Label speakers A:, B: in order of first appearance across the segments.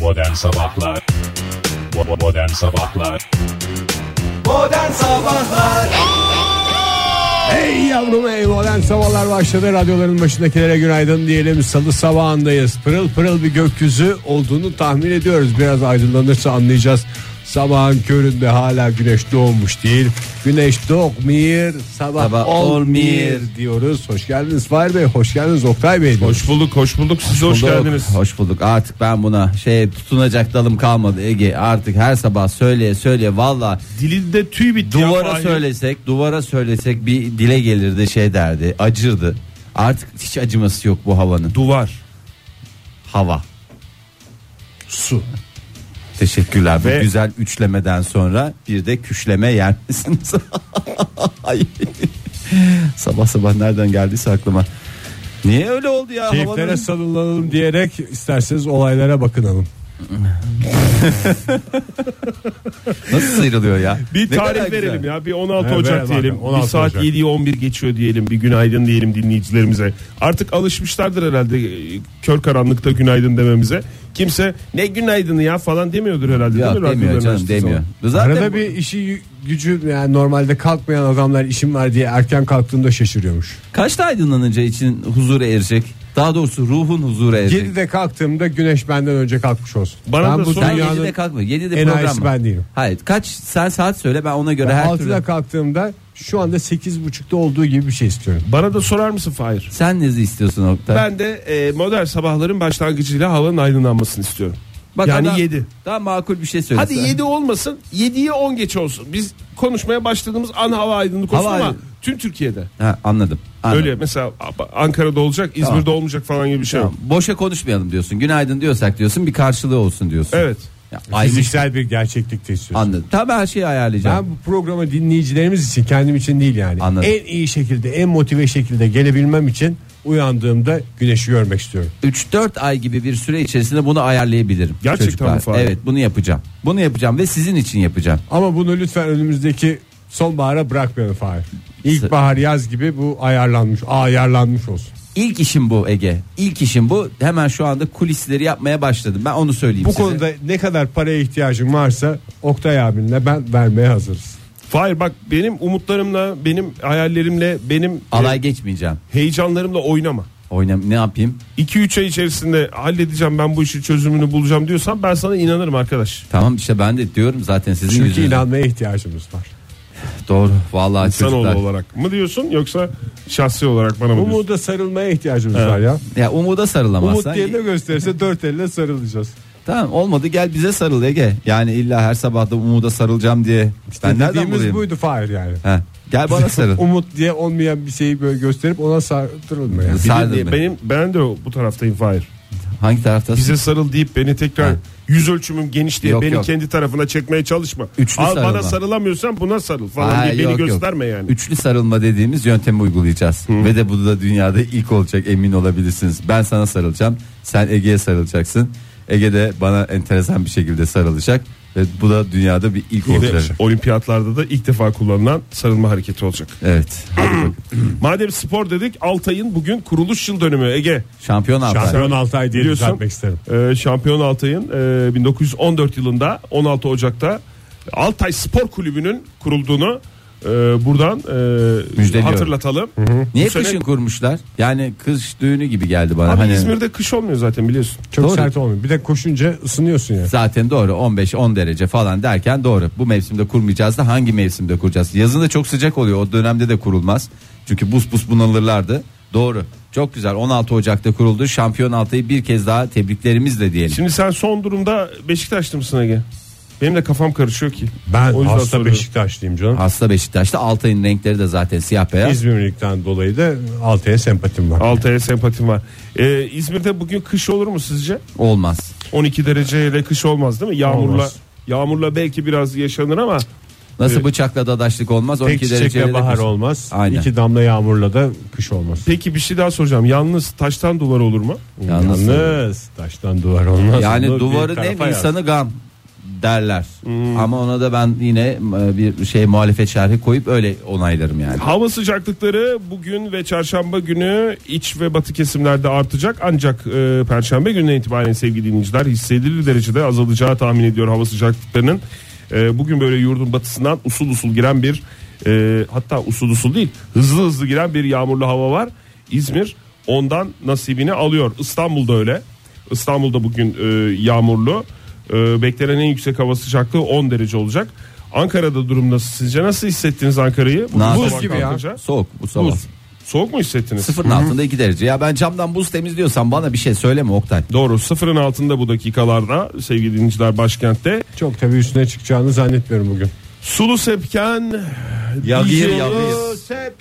A: Modern Sabahlar Bo- Modern Sabahlar
B: Modern Sabahlar
C: Ey yavrum ey modern sabahlar başladı Radyoların başındakilere günaydın diyelim Salı sabahındayız Pırıl pırıl bir gökyüzü olduğunu tahmin ediyoruz Biraz aydınlanırsa anlayacağız Sabahın köründe hala güneş doğmuş değil Güneş doğmuyor Sabah,
B: Sabah
C: olmuyor
B: olmuyor.
C: diyoruz Hoş geldiniz Fahir Bey hoş geldiniz Oktay Bey diyoruz.
D: Hoş bulduk, hoş bulduk. Siz de hoş,
B: Bulduk,
D: geldiniz.
B: Hoş bulduk. Artık ben buna şey tutunacak dalım kalmadı Ege. Artık her sabah söyleye söyleye valla
D: Dilinde tüy bitti. ya
B: duvara
D: Fahir.
B: söylesek, duvara söylesek bir dile gelirdi şey derdi, acırdı. Artık hiç acıması yok bu havanın.
D: Duvar.
B: Hava.
C: Su
B: Teşekkürler.
D: Ve-
B: Bu güzel üçlemeden sonra bir de küşleme yer misiniz? Ay. sabah sabah nereden geldiyse aklıma. Niye öyle oldu ya?
C: Keyiflere
B: Havanın-
C: sarılalım diyerek isterseniz olaylara bakınalım
B: Nasıl sıyrılıyor ya?
D: Bir
B: Ne kadar
D: tarih
B: güzel.
D: verelim ya. Bir 16
C: Evet,
D: Ocak
C: verelim
D: diyelim.
C: abi, 16
D: bir saat
C: Ocak.
D: 7'yi 11 geçiyor diyelim. Bir günaydın diyelim dinleyicilerimize. Artık alışmışlardır herhalde e, kör karanlıkta günaydın dememize. Kimse ne günaydını ya falan demiyordur herhalde.
B: Ya
D: değil mi?
B: demiyor
D: Radyoların
B: canım
D: açtığı
B: demiyor.
D: zaman.
B: Zaten
C: Arada bir işi gücü yani normalde kalkmayan adamlar işim var diye erken kalktığında şaşırıyormuş
B: kaçta aydınlanınca için huzura erecek? Daha doğrusu ruhun huzura erecek.
C: 7'de kalktığımda güneş benden önce kalkmış olsun.
D: Bana
C: ben
D: da
C: bu
D: sonra-
B: Sen
C: dünyanın
B: 7'de kalkma. 7'de
C: en
B: program
C: iyisi
B: mı?
C: ben değilim.
B: Hayır. Kaç sen saat söyle ben ona göre
C: ben
B: her
C: 6'da
B: türlü.
C: kalktığımda şu anda 8.30'da olduğu gibi bir şey istiyorum.
D: Bana da sorar mısın Fahir?
B: Sen ne istiyorsun Oktay?
D: Ben de e, modern sabahların başlangıcıyla havanın aydınlanmasını istiyorum.
B: Bak
D: yani
B: adam-
D: 7.
B: Daha makul bir şey söyle.
D: Hadi
B: sen.
D: 7 olmasın 7'ye 10 geç olsun. Biz konuşmaya başladığımız an hava aydınlık olsun
B: Hava
D: ama
B: aydın-
D: tüm Türkiye'de.
B: Ha, anladım. anladım.
D: Öyle mesela Ankara'da olacak İzmir'de olmayacak falan gibi bir şey yok.
B: Tamam, Boşa konuşmayalım diyorsun. Günaydın diyorsak diyorsun. Bir karşılığı olsun diyorsun.
D: Evet.
B: Ya, aymış.
C: Fiziksel bir gerçeklik de istiyorum.
B: Anladım. Tabii her şeyi ayarlayacağım.
C: Ben bu programı dinleyicilerimiz için kendim için değil yani.
B: Anladım.
C: En iyi şekilde en motive şekilde gelebilmem için uyandığımda güneşi görmek istiyorum.
B: 3-4 ay gibi bir süre içerisinde bunu ayarlayabilirim.
D: Gerçekten mi
B: çocuklar.
D: Fahri?
B: Evet bunu yapacağım. Bunu yapacağım ve sizin için yapacağım.
C: Ama bunu lütfen önümüzdeki sonbahara bırakmayalım Fahir. İlkbahar yaz gibi bu ayarlanmış ayarlanmış olsun.
B: İlk işim bu Ege. İlk işim bu. Hemen şu anda kulisleri yapmaya başladım. Ben onu söyleyeyim
C: Bu
B: size.
C: konuda ne kadar paraya ihtiyacın varsa Oktay abinle ben vermeye hazırız.
D: Hayır bak benim umutlarımla, benim hayallerimle, benim
B: alay
D: e,
B: geçmeyeceğim.
D: heyecanlarımla oynama.
B: Oynam ne yapayım?
D: 2-3 ay içerisinde halledeceğim ben bu işi çözümünü bulacağım diyorsan ben sana inanırım arkadaş.
B: Tamam işte ben de diyorum zaten sizin
C: Çünkü
B: yüzünüzden.
C: inanmaya ihtiyacımız var.
B: Doğru vallahi
D: İnsanoğlu
B: çocuklar.
D: olarak mı diyorsun yoksa şahsi olarak bana mı diyorsun?
C: Umuda sarılmaya ihtiyacımız var ya.
B: Ya umuda
C: Umut
B: sarılamazsan.
C: yerine gösterirse dört elle sarılacağız.
B: Tamam olmadı gel bize sarıl Ege. Yani illa her sabah da umuda sarılacağım diye. ben nereden
C: Dediğimiz
B: bulayım?
C: buydu Fahir yani.
B: He, gel bana sarıl.
C: Umut diye olmayan bir şeyi böyle gösterip ona sarılma yani.
B: Bir- Sardın
D: Benim-
B: mı?
D: Benim ben de o- bu taraftayım Fahir.
B: Hangi taraftasın?
D: Bize sarıl deyip beni tekrar
B: Ha.
D: yüz ölçümüm geniş diye
B: Yok,
D: beni
B: yok.
D: kendi tarafına çekmeye çalışma.
B: Üçlü
D: Al bana
B: sarılma.
D: sarılamıyorsan buna sarıl falan
B: Ha,
D: diye beni
B: yok, yok.
D: gösterme yani.
B: Üçlü sarılma dediğimiz yöntemi uygulayacağız. Ve de bu da dünyada ilk olacak emin olabilirsiniz. Ben sana sarılacağım. Sen Ege'ye sarılacaksın. Ege de bana enteresan bir şekilde sarılacak. Ve bu da dünyada bir ilk
D: Bir de
B: olacak.
D: olimpiyatlarda da ilk defa kullanılan sarılma hareketi olacak.
B: Evet.
D: Madem spor dedik Altay'ın bugün kuruluş yıl dönümü Ege.
B: Şampiyon Altay.
C: Şampiyon Altay diye
D: Biliyorsun.
C: düzeltmek isterim.
D: Ee, şampiyon Altay'ın e, 1914 yılında 16 Ocak'ta Altay Spor Kulübü'nün kurulduğunu e, buradan e,
B: Müjdeliyorum.
D: hatırlatalım.
B: Niye
D: Bu sene-
B: kışın kurmuşlar? Yani kış düğünü gibi geldi bana.
D: Abi
B: hani
D: İzmir'de kış olmuyor zaten biliyorsun.
C: Çok
B: Doğru.
C: sert olmuyor. Bir de koşunca ısınıyorsun ya.
B: Zaten doğru 15-10 derece falan derken doğru. Bu mevsimde kurmayacağız da hangi mevsimde kuracağız? Yazın da çok sıcak oluyor. O dönemde de kurulmaz. Çünkü buz buz bunalırlardı. Doğru. Çok güzel. 16 Ocak'ta kuruldu. Şampiyon altayı bir kez daha tebriklerimizle diyelim.
D: Şimdi sen son durumda Beşiktaşlı mısın Ege? Benim de kafam karışıyor ki.
C: Ben
D: O yüzden
C: hasta
D: soruyorum.
C: Beşiktaşlıyım canım.
B: Hasta Beşiktaş'ta altayın renkleri de zaten siyah beyaz.
C: İzmirlikten dolayı da Altay'a sempatim var.
D: Altay'a sempatim var. Ee, İzmir'de bugün kış olur mu sizce?
B: Olmaz.
D: 12 dereceyle kış olmaz değil mi? Yağmurla
C: Olmaz.
D: yağmurla belki biraz yaşanır ama
B: Nasıl
D: Evet.
B: bıçakla dadaşlık olmaz. 12
C: Tek çiçekle
B: dereceyle
C: bahar
B: bahar
C: olmaz.
B: Aynen.
C: İki damla yağmurla da kış olmaz.
D: peki bir şey daha soracağım. Yalnız taştan duvar olur mu?
B: Yalnız-
C: Yalnız taştan duvar olmaz.
B: Yani
C: Onu bir
B: duvarın
C: tarafa
B: en
C: yaz. Hmm.
B: insanı gam. derler. Ama ona da ben yine e, bir şey muhalefet şerhi koyup öyle onaylarım yani.
D: Hava sıcaklıkları bugün ve çarşamba günü iç ve batı kesimlerde artacak ancak e, perşembe gününe itibaren sevgili dinleyiciler hissedilir derecede azalacağı tahmin ediyor hava sıcaklıklarının. E, bugün böyle yurdun batısından usul usul giren bir e, hatta usul usul değil hızlı hızlı giren bir yağmurlu hava var. İzmir ondan nasibini alıyor. İstanbul'da öyle. İstanbul'da bugün e, yağmurlu. E, beklenen en yüksek hava sıcaklığı 10 derece olacak. Ankara'da durum nasıl sizce? Nasıl hissettiniz Ankara'yı? Bugün
B: Nasıl?
D: sabah
C: Buz gibi ya.
D: kalkınca.
B: Soğuk bu sabah.
D: Buz. Soğuk mu hissettiniz?
B: Sıfırın altında 2 derece. Ya ben camdan buz temizliyorsan bana bir şey söyleme Oktay.
D: Doğru sıfırın altında bu dakikalarda sevgili dinleyiciler başkentte.
C: Çok tabii üstüne çıkacağını zannetmiyorum bugün.
D: Sulu sepken
B: Yağıyor
D: Bizi
B: yağıyor.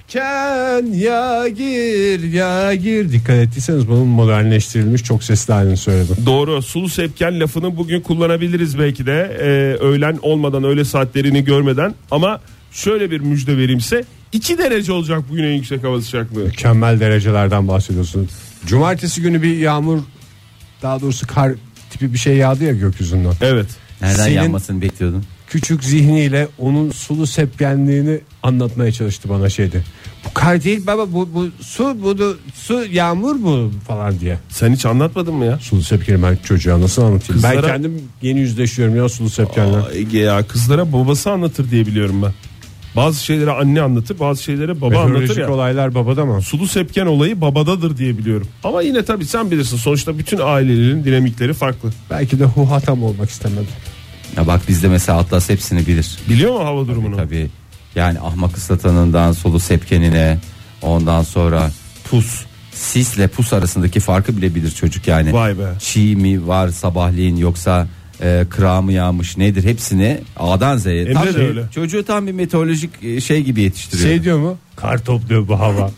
C: Sepken ya gir ya gir. Dikkat ettiyseniz bunun modernleştirilmiş çok sesli halini söyledim.
D: Doğru sulu sepken lafını bugün kullanabiliriz belki de Ee, öğlen olmadan öğle saatlerini görmeden ama şöyle bir müjde verimse 2 derece olacak bugün en yüksek hava sıcaklığı.
C: Mükemmel derecelerden bahsediyorsunuz. Cumartesi günü bir yağmur daha doğrusu kar tipi bir şey yağdı ya gökyüzünden.
D: Evet.
B: Nereden
C: Senin-
B: yanmasını bekliyordun?
C: Küçük zihniyle onun sulu sepkenliğini anlatmaya çalıştı bana şeydi. Bu kar değil baba bu, bu su bu da- su yağmur bu falan diye.
D: Sen hiç anlatmadın mı ya?
C: Sulu sepkeni ben çocuğa nasıl anlatayım? Ben
D: Kızlara-
C: kendim yeni yüzleşiyorum ya sulu sepkenle.
D: Aa, Ege ya kızlara babası anlatır diye biliyorum ben. Bazı şeyleri anne anlatır, bazı şeyleri baba anlatır
C: Meteorolojik
D: ya.
C: olaylar babada mı?
D: Sulu sepken olayı babadadır diye biliyorum. Ama yine tabii sen bilirsin sonuçta bütün ailelerin dinamikleri farklı.
C: Belki de huhatam olmak istemedim.
B: Ya bak bizde mesela Atlas hepsini bilir.
D: Biliyor mu hava durumunu?
B: Tabii. Yani ahmak ıslatanından solu sepkenine ondan sonra pus sisle pus arasındaki farkı bile bilir çocuk yani.
D: Vay be.
B: Çiğ mi var sabahleyin yoksa e, kıra mı yağmış nedir hepsini A'dan Z'ye.
D: Emre
B: Tam
D: de
B: bir-
D: öyle.
B: Çocuğu tam bir meteorolojik e, şey gibi yetiştiriyor.
C: Şey diyor mu? Kar topluyor bu hava.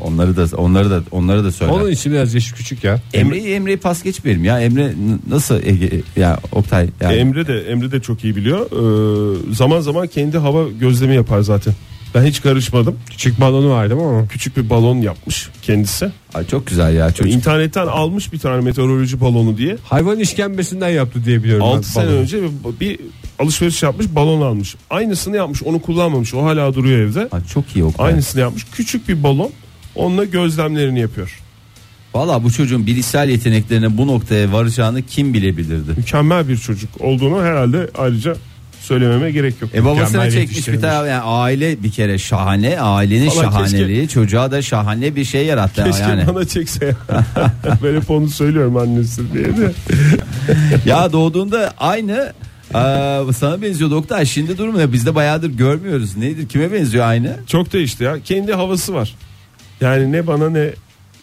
B: onları da onları da onları da söyler.
C: Onun için biraz yaşı küçük ya.
B: Emre'yi Emre'yi pas geçmeyelim ya. Emre n- nasıl Ege ya Oktay yani.
D: Emre de Emre de çok iyi biliyor. Ee, zaman zaman kendi hava gözlemi yapar zaten. Ben hiç karışmadım.
C: Küçük balonu vardı ama.
D: Küçük bir balon yapmış kendisi.
B: Ay çok güzel ya çocuk.
D: İnternetten almış bir tane meteoroloji balonu diye.
C: Hayvan işkembesinden yaptı diye biliyorum.
D: 6 sene önce bir, bir alışveriş yapmış, balon almış. Aynısını yapmış, onu kullanmamış. O hala duruyor evde.
B: Ay çok iyi Oktay.
D: Aynısını yapmış. Küçük bir balon. Onunla gözlemlerini yapıyor.
B: Valla bu çocuğun bilişsel yeteneklerinin bu noktaya varacağını kim bilebilirdi?
D: Mükemmel bir çocuk olduğunu herhalde ayrıca söylememe gerek yok.
B: E babasına
D: Mükemmel
B: çekmiş
D: yetiştirilmiş.
B: bir tane yani aile bir kere şahane ailenin
D: Vallahi
B: şahaneliği çocuğa da şahane bir şey yarattı
D: Keşke
B: yani.
D: bana çekse ya. Böyle hep onu söylüyorum annesi diye de.
B: ya doğduğunda aynı e, sana benziyor doktor. Şimdi durum ne? Biz de bayağıdır görmüyoruz. Nedir? Kime benziyor aynı?
D: Çok değişti ya. Kendi havası var. Yani ne bana ne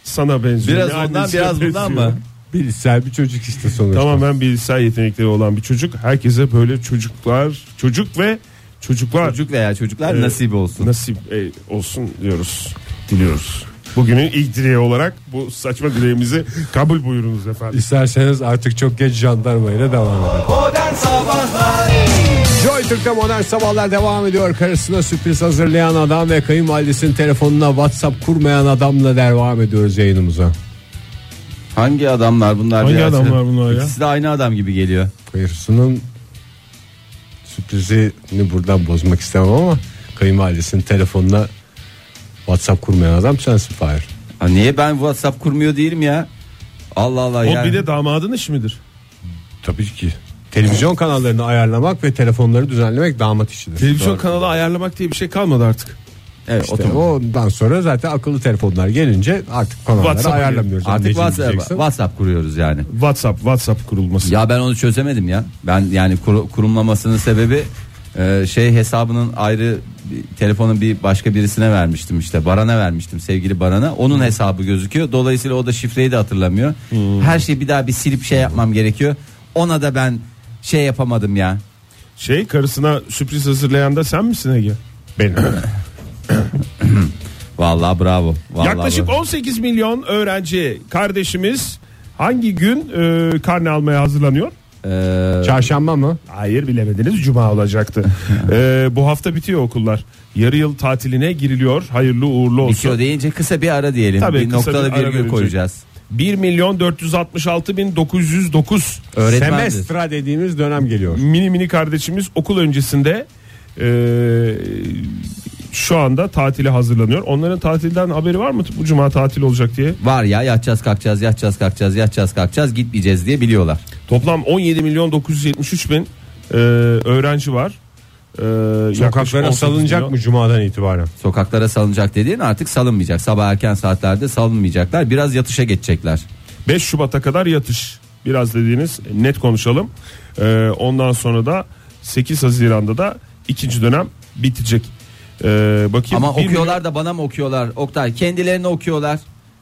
D: sana benziyor.
B: Biraz
D: ne
B: ondan
D: annesine
B: biraz bundan
D: benziyor.
B: mı?
C: Bilişsel bir çocuk işte sonuçta.
D: Tamamen bilgisayar yetenekleri olan bir çocuk. Herkese böyle çocuklar, çocuk ve çocuklar
B: Çocuk veya çocuklar
D: Evet.
B: nasip olsun.
D: nasip e, olsun diyoruz. Diliyoruz. Bugünün ilk dileği olarak bu saçma dileğimizi kabul buyurunuz efendim.
C: İsterseniz artık çok geç jandarmayla devam edelim. Joy Türk'te modern sabahlar devam ediyor. Karısına sürpriz hazırlayan adam ve kayınvalidesinin telefonuna WhatsApp kurmayan adamla devam ediyoruz yayınımıza.
B: Hangi adamlar bunlar?
D: Hangi
B: bir açıdan?
D: adamlar bunlar ya?
B: İkisi de aynı adam gibi geliyor.
C: Kayırsının sürprizini buradan bozmak istemem ama kayınvalidesinin telefonuna WhatsApp kurmayan adam sensin Fahir.
B: Ha, niye ben WhatsApp kurmuyor değilim ya? Allah Allah
D: O
B: ya.
D: bir de damadın iş midir?
C: Tabii ki. Televizyon kanallarını ayarlamak ve telefonları düzenlemek damat işidir.
D: Televizyon kanalı ayarlamak diye bir şey kalmadı artık.
B: Evet,
C: İşte
B: otomatik.
C: ondan sonra zaten akıllı telefonlar gelince artık kanalları
D: WhatsApp
C: ayarlamıyoruz.
B: Artık
C: anneciğim
B: WhatsApp,
C: diyeceksin.
B: WhatsApp kuruyoruz yani.
D: WhatsApp, WhatsApp kurulması.
B: Ya ben onu çözemedim ya. Ben yani kuru- kurumlamasının sebebi e, şey hesabının ayrı bir- telefonun bir başka birisine vermiştim işte Baran'a vermiştim sevgili Baran'a onun hesabı gözüküyor dolayısıyla o da şifreyi de hatırlamıyor
D: Hmm.
B: her şeyi bir daha bir silip şey yapmam gerekiyor ona da ben şey yapamadım ya
D: Şey karısına sürpriz hazırlayan da sen misin Ege?
C: Benim.
B: vallahi bravo vallahi
D: Yaklaşık
B: bravo.
D: 18 milyon öğrenci kardeşimiz hangi gün e, karne almaya hazırlanıyor?
B: Ee,
C: Çarşamba mı?
D: Hayır bilemediniz cuma olacaktı. E, bu hafta bitiyor okullar. Yarı yıl tatiline giriliyor. Hayırlı uğurlu olsun.
B: bitiyor deyince kısa bir ara diyelim
D: Tabii,
B: bir
D: kısa bir
B: noktada
D: ara
B: virgül
D: verilecek.
B: koyacağız
D: 1 milyon 466 bin 909
B: Öğretmendir.
C: Semestra dediğimiz dönem geliyor.
D: mini mini kardeşimiz okul öncesinde e, şu anda tatile hazırlanıyor. Onların tatilden haberi var mı bu cuma tatil olacak diye?
B: Var ya yatacağız kalkacağız yatacağız kalkacağız yatacağız kalkacağız gitmeyeceğiz diye biliyorlar.
D: Toplam 17 milyon 973 bin e, öğrenci var. E, yaklaşık
C: Sokaklara
D: 18
C: salınacak
D: milyon.
C: mı cumadan itibaren?
B: Sokaklara salınacak dediğin artık salınmayacak. Sabah erken saatlerde salınmayacaklar. Biraz yatışa geçecekler.
D: 5 Şubat'a kadar yatış. Biraz dediğiniz e, net konuşalım. Ee, ondan sonra da 8 Haziran'da da ikinci dönem bitecek. Ee, bakayım.
B: Ama
D: Bir
B: okuyorlar da bana mı okuyorlar? Oktay kendilerini okuyorlar.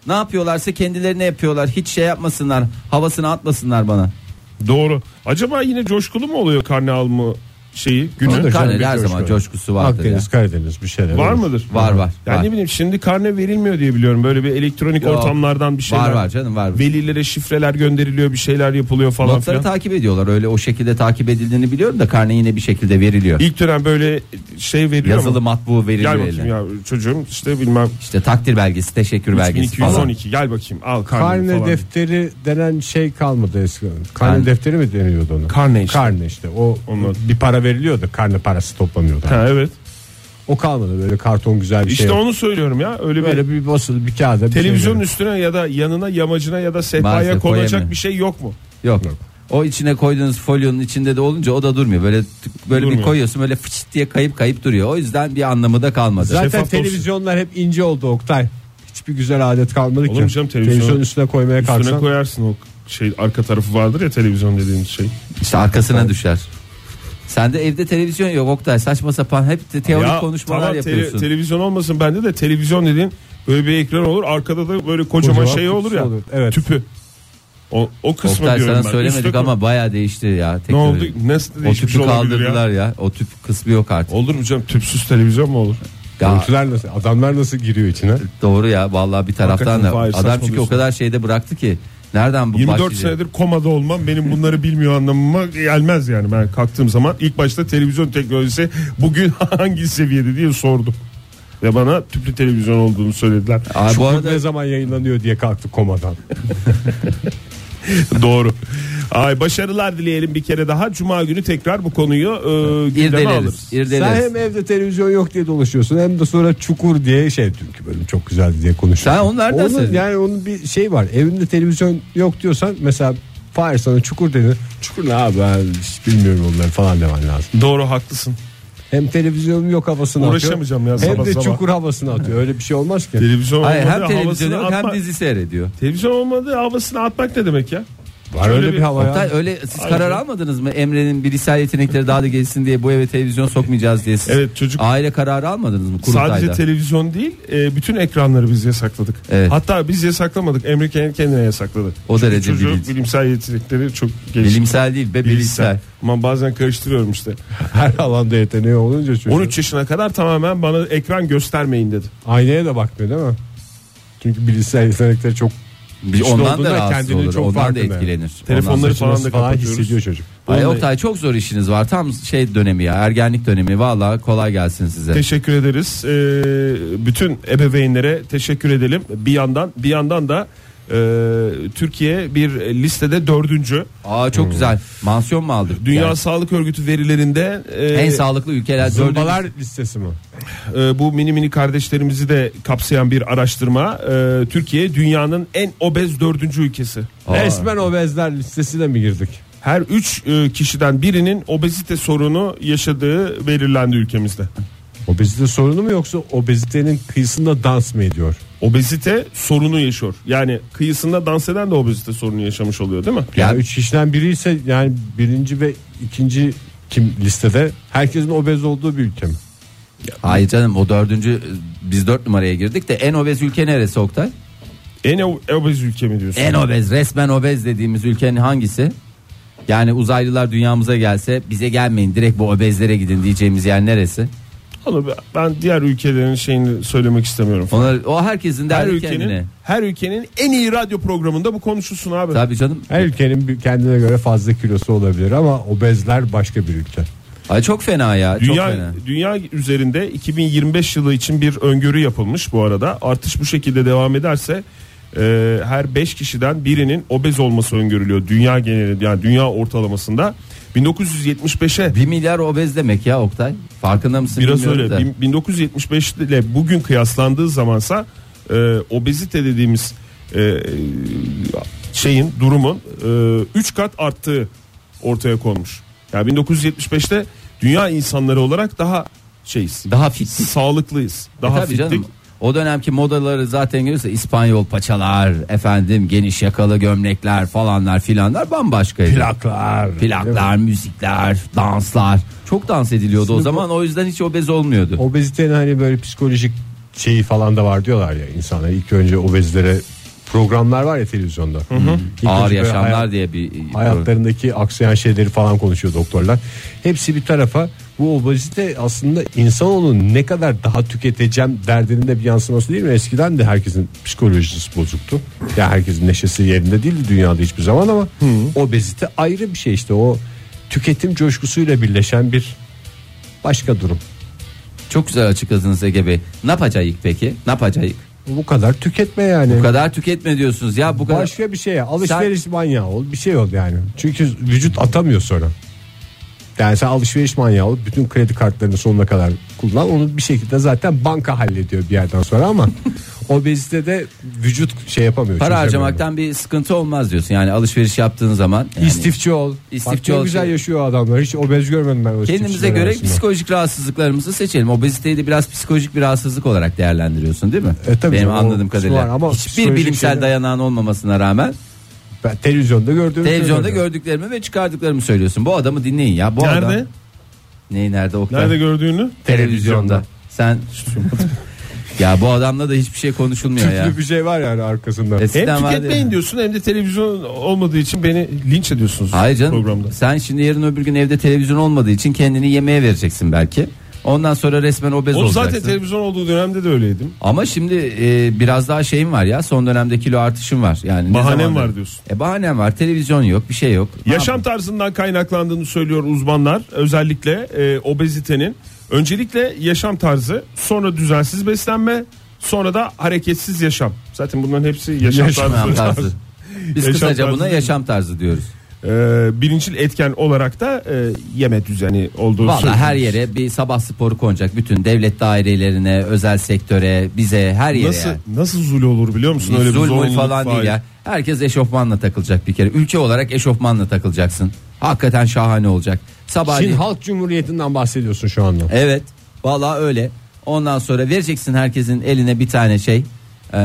B: Ne yapıyorlarsa kendilerine yapıyorlar. Hiç şey yapmasınlar. Havasını atmasınlar bana.
D: milyon- Doğru. Acaba yine coşkulu mu oluyor karne alma şeyi günü?
C: Olur.
B: Karnede
C: bir
B: her
C: coşku
B: zaman
C: var.
B: coşkusu vardır ya.
C: Akdeniz, Karadeniz bir şeyler.
D: Var
C: olur.
D: mıdır?
B: Var, var,
D: Yani
B: var.
D: ne bileyim şimdi karne verilmiyor diye biliyorum. Böyle bir elektronik
B: Yok.
D: ortamlardan bir şeyler.
B: Var var canım var.
D: Velilere şifreler gönderiliyor bir şeyler yapılıyor falan
B: Notları
D: filan.
B: takip ediyorlar. Öyle o şekilde takip edildiğini biliyorum da karne yine bir şekilde veriliyor.
D: İlk dönem böyle şey veriliyor
B: Yazılı
D: mu?
B: matbu veriliyor.
D: Gel
B: eline.
D: bakayım ya çocuğum işte bilmem
B: İşte takdir belgesi, teşekkür belgesi falan.
D: 3212 gel bakayım al karne
C: Karne
D: falan.
C: defteri denen şey kalmadı eskiden. Karne, defteri mi deniyordu ona?
D: Karne işte.
C: Karne işte. O
D: Onun-
C: bir para veriliyordu. Karne parası toplanıyordu.
D: Ha evet.
C: O kalmadı böyle karton güzel bir
D: İşte
C: şey.
D: onu söylüyorum ya. Öyle bir
C: böyle bir basılı bir kağıda. bir şey
D: televizyonun
C: veriliyordu.
D: üstüne ya da yanına yamacına ya da sehpaya
B: Maalesef
D: konacak
B: koyamıyor.
D: bir şey yok mu?
B: Yok. O içine koyduğunuz folyonun içinde de olunca o da durmuyor. Böyle tık- böyle
D: Durmuyor.
B: bir koyuyorsun böyle fıçt diye kayıp kayıp duruyor. O yüzden bir anlamı da kalmadı.
C: Zaten
D: Şeffaf
C: televizyonlar hep ince oldu Oktay. Hiçbir güzel adet kalmadı ki.
D: Olur mu canım, televizyon-
C: Televizyonun üstüne koymaya
D: Üstüne
C: kalksan.
D: koyarsın o şey arka tarafı vardır ya televizyon dediğimiz şey.
B: İşte arkasına düşer. Sen de evde televizyon yok Oktay. Saçma sapan hep de teorik
D: Ya
B: konuşmalar
D: tamam, tele-
B: yapıyorsun.
D: televizyon olmasın bende de televizyon dediğin böyle bir ekran olur. Arkada da böyle kocaman,
C: Kocaman
D: şey olur
C: kutusu
D: ya.
C: olur, evet.
D: Tüpü. O, o kısmı
B: Oktay
D: diyorum
B: sana
D: ben.
B: söylemedik
D: Üstte-
B: ama baya değişti ya.
D: ne oldu?
B: teknoloji.
D: Nasıl
B: O
D: değişmiş
B: tüpü
D: olabilir ya?
B: kaldırdılar ya. O tüp kısmı yok artık.
D: Olur mu canım tüpsüz televizyon mu olur?
B: Ya,
C: Görüntüler nasıl? Adamlar nasıl giriyor içine?
B: doğru ya vallahi bir taraftan
D: Hakikaten
B: da
D: Fahir,
B: adam çünkü o
D: saçmalıyorsun.
B: kadar şeyde bıraktı ki nereden bu
D: 24
B: başlayacak?
D: senedir komada olmam benim bunları bilmiyor anlamıma gelmez yani ben kalktığım zaman ilk başta televizyon teknolojisi bugün hangi seviyede diye sordum. Ve bana tüplü televizyon olduğunu söylediler.
B: Aa, bu
C: Bu
B: arada
C: ne zaman yayınlanıyor diye kalktı komadan.
D: Doğru. Ay başarılar dileyelim bir kere daha. Cuma günü tekrar bu konuyu e, gündeme alırız.
B: irdeleriz. irdeleriz.
C: Sen hem evde televizyon yok diye dolaşıyorsun hem de sonra çukur diye şey çünkü bölüm çok güzeldi diye konuşuyorsun.
B: Sen onlardan
C: onun,
B: sen-
C: Yani onun bir şey var evinde televizyon yok diyorsan mesela Fahir sana çukur dedi. Çukur ne abi ben hiç bilmiyorum onları falan demen lazım.
D: Doğru haklısın.
C: Hem televizyonum yok havasını atıyor.
D: Uğraşamayacağım ya
C: Hem
D: sabah
C: de
D: sabah.
C: çukur havasını atıyor öyle bir şey olmaz ki.
D: Televizyon
B: Hayır,
D: olmadı
B: hem televizyon
D: havasını
B: yok hem
D: atma-
B: dizi seyrediyor.
D: Televizyon olmadı havasını atmak ne demek ya?
C: Var öyle
D: Şöyle
C: bir hava
B: Oktay
C: ya.
B: öyle siz karar almadınız mı? Emre'nin bilgisayar yetenekleri daha da gelişsin diye bu eve televizyon sokmayacağız diye siz.
D: Evet, çocuk-
B: Aile kararı almadınız mı kurultayda?
D: Sadece televizyon değil e, bütün ekranları biz yasakladık.
B: Evet.
D: Hatta biz yasaklamadık. Emre kendi kendine yasakladı.
B: O
D: Çünkü
B: derece
D: çocuğun
B: bilinç.
D: bilimsel yetenekleri çok gelişti.
B: Bilimsel değil be
D: Bilgisayar.
B: bilgisayar.
D: Ama bazen karıştırıyorum işte.
C: Her alanda yeteneği olunca çünkü.
D: 13 yaşına kadar tamamen bana ekran göstermeyin dedi.
C: Aynaya da bakmıyor değil mi? Çünkü bilgisayar yetenekleri çok
B: Bir
C: güçlü
B: ondan
C: olduğunda
B: da rahatsız
C: kendini
B: olur.
C: çok
B: Ondan da
C: farkında.
B: etkilenir.
D: Telefonları
B: Ondan da-
D: falan da
C: Falan, falan
D: kapatıyoruz.
C: hissediyor çocuk.
B: Ay
D: Vallahi-
B: Oktay çok zor işiniz var. Tam şey dönemi ya. Ergenlik dönemi. Vallahi kolay gelsin size.
D: Teşekkür ederiz. Ee, bütün ebeveynlere teşekkür edelim. Bir yandan bir yandan da e, Türkiye bir listede dördüncü.
B: Aa çok güzel. Mansiyon mu aldık?
D: Dünya
B: Yani
D: Sağlık Örgütü verilerinde e,
B: en sağlıklı ülkeler
C: Zımbalar listesi mi?
D: e, bu mini mini kardeşlerimizi de kapsayan bir araştırma. E, Türkiye dünyanın en obez dördüncü ülkesi.
B: Aa.
C: Resmen obezler listesine mi girdik?
D: Her üç e, kişiden birinin obezite sorunu yaşadığı belirlendi ülkemizde.
C: Obezite sorunu mu yoksa obezitenin kıyısında dans mı ediyor?
D: Obezite sorunu yaşıyor. Yani kıyısında dans eden de obezite sorunu yaşamış oluyor değil mi?
B: Ya-
C: Yani üç kişiden biri ise yani birinci ve ikinci kim listede herkesin obez olduğu bir ülke mi?
B: Hayır canım o dördüncü biz dört numaraya girdik de en obez ülke neresi Oktay?
D: En ob- obez ülke mi diyorsun?
B: En obez resmen obez dediğimiz ülkenin hangisi? Yani uzaylılar dünyamıza gelse bize gelmeyin direkt bu obezlere gidin diyeceğimiz yer neresi?
D: Onu ben- ben diğer ülkelerin şeyini söylemek istemiyorum.
B: Onlar, o herkesin
D: Her
B: derdi
D: ülkenin
B: kendine.
D: her ülkenin en iyi radyo programında bu konuşulsun abi.
B: Tabii canım.
C: Her ülkenin bir kendine göre fazla kilosu olabilir ama obezler başka bir ülke.
B: Ay çok fena ya. çok
D: Dünya
B: fena.
D: dünya üzerinde 2025 yılı için bir öngörü yapılmış bu arada. Artış bu şekilde devam ederse e, her 5 kişiden birinin obez olması öngörülüyor dünya geneli yani dünya ortalamasında 1975'e
B: 1 milyar obez demek ya Oktay. Farkında mısın
D: Biraz
B: bilmiyorum
D: öyle.
B: da. E,
D: Bin- 1975 ile bugün kıyaslandığı zamansa e, obezite dediğimiz e, şeyin durumun 3 kat arttığı ortaya konmuş. Yani 1975'te dünya insanları olarak daha şeyiz.
B: Daha fit.
D: sağlıklıyız.
B: E
D: Daha
B: tabii
D: fittik.
B: canım. O dönemki modaları zaten görürse İspanyol paçalar, efendim geniş yakalı gömlekler falanlar filanlar bambaşkaydı.
C: Plaklar.
B: Plaklar, müzikler, danslar. Çok dans ediliyordu o
C: Şimdi
B: zaman o yüzden hiç obez olmuyordu.
C: Obezitenin hani böyle psikolojik şeyi falan da var diyorlar ya insanlar ilk önce obezlere programlar var ya televizyonda. İlk
B: Ağır
C: önce böyle
B: yaşamlar
C: hayat-
B: diye bir e,
C: hayatlarındaki aksayan şeyleri falan konuşuyor doktorlar. Hepsi bir tarafa bu obezite aslında insanoğlunun ne kadar daha tüketeceğim derdinin de bir yansıması değil mi? Eskiden de herkesin psikolojisi bozuktu. Ya herkesin neşesi yerinde değildi dünyada hiçbir zaman ama obezite ayrı bir şey işte o tüketim coşkusuyla birleşen bir başka durum.
B: çok güzel açıkladınız Ege Bey. Ne yapacağız peki? Ne yapacağız?
C: Bu kadar tüketme yani.
B: Bu kadar tüketme diyorsunuz ya bu kadar.
C: Başka bir şeye alışveriş manyağı ol bir şey ol yani. Çünkü vücut atamıyor sonra. Yani sen alışveriş manyağı ol bütün kredi kartlarını sonuna kadar kullan. Onu bir şekilde zaten banka hallediyor bir yerden sonra ama obezite de vücut şey yapamıyor.
B: Para
C: çözemiyor.
B: harcamaktan bir sıkıntı olmaz diyorsun. Yani alışveriş yaptığın zaman yani
C: İstifçi ol.
B: İstifçi
C: İstifçi
B: ol.
C: güzel yaşıyor adamlar. Hiç obez görmedim ben. o
B: kendimize
C: istifçiler
B: göre
C: arasında.
B: psikolojik rahatsızlıklarımızı seçelim. Obeziteyi de biraz psikolojik bir rahatsızlık olarak değerlendiriyorsun değil mi?
C: E, tabii
B: Benim
C: canım, o
B: anladığım
C: kısmı
B: kadarıyla.
C: var ama
B: Hiçbir
C: psikolojik
B: bilimsel
C: şeyler-
B: dayanağın olmamasına rağmen
C: Ben televizyonda gördüğüm
B: televizyonda
C: şeyler.
B: gördüklerimi ve çıkardıklarımı söylüyorsun. Bu adamı dinleyin ya. Bu
D: Nerede?
B: adam neyi nerede Oktay?
D: Nerede gördüğünü?
B: Televizyonda. Sen Ya bu adamla da hiçbir şey konuşulmuyor ya. E,
C: Tüplü bir şey var yani arkasında.
B: Eskiden
D: Hem
B: vardı ya.
D: tüketmeyin diyorsun hem de televizyon olmadığı için beni linç ediyorsunuz
B: Hayır canım.
D: programda.
B: Sen şimdi yarın öbür gün evde televizyon olmadığı için kendini yemeğe vereceksin belki. Ondan sonra resmen obez
D: O
B: olacaksın.
D: zaten televizyon olduğu dönemde de öyleydim.
B: Ama şimdi e, biraz daha şeyim var ya. Son dönemde kilo artışım var. Yani ne
D: Bahanem
B: zamandır-
D: var diyorsun.
B: E bahanem var. Televizyon yok, bir şey yok. Ne
D: Yaşam
B: yapayım?
D: tarzından kaynaklandığını söylüyor uzmanlar. Özellikle e, obezitenin. Öncelikle yaşam tarzı, sonra düzensiz beslenme, sonra da hareketsiz yaşam. Zaten bunların hepsi yaşam,
B: Yaşam
D: tarzı.
B: tarzı. Biz
D: Yaşam
B: kısaca
D: tarzı
B: buna
D: değil.
B: yaşam tarzı diyoruz.
D: E, birincil etken olarak da e, yeme düzeni olduğu
B: Valla
D: söyleniyor.
B: her yere bir sabah sporu konacak. Bütün devlet dairelerine, özel sektöre, bize her yere.
D: Nasıl
B: yani.
D: nasıl zulü olur biliyor musun? Öyle bir
B: Zulmü
D: zorunluluk
B: falan
D: var.
B: değil ya. Herkes eşofmanla takılacak bir kere. Ülke olarak eşofmanla takılacaksın. Hakikaten şahane olacak. Sabah
C: Çin Halk Cumhuriyeti'nden bahsediyorsun şu anda.
B: Evet. Vallahi öyle. Ondan sonra vereceksin herkesin eline bir tane şey, e,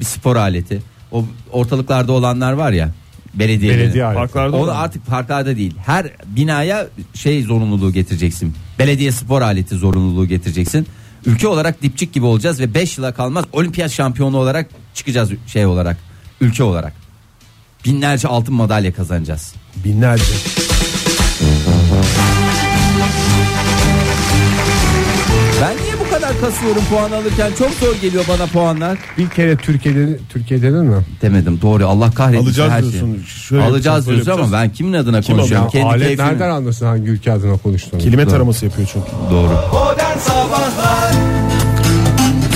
B: bir spor aleti. O ortalıklarda olanlar var ya, belediye.
C: Belediye aleti.
D: Parklarda
B: O
D: olan
B: da
D: mı?
B: artık parklarda değil. Her binaya şey zorunluluğu getireceksin. Belediye spor aleti zorunluluğu getireceksin. Ülke olarak dipçik gibi olacağız ve 5 yıla kalmaz olimpiyat şampiyonu olarak çıkacağız şey olarak, ülke olarak. Binlerce altın madalya kazanacağız.
C: Binlerce.
B: Ben niye bu kadar kasıyorum puan alırken? Çok zor geliyor bana puanlar.
C: Bir kere Türkiye'de Türkiye'den mi?
B: Demedim doğru Allah kahretsin
D: Alacağız
B: her şeyi.
D: diyorsun. Şöyle
B: Alacağız
D: yapacağız, böyle
B: diyoruz ama
D: yapacağız.
B: ben kimin adına
D: Kim
B: konuşuyorum?
D: alıyor?
B: Kendi
C: Alet
B: keyfimi.
C: nereden anlasın hangi ülke adına konuştuğunu?
D: Kelime taraması yapıyor çünkü.
B: Doğru.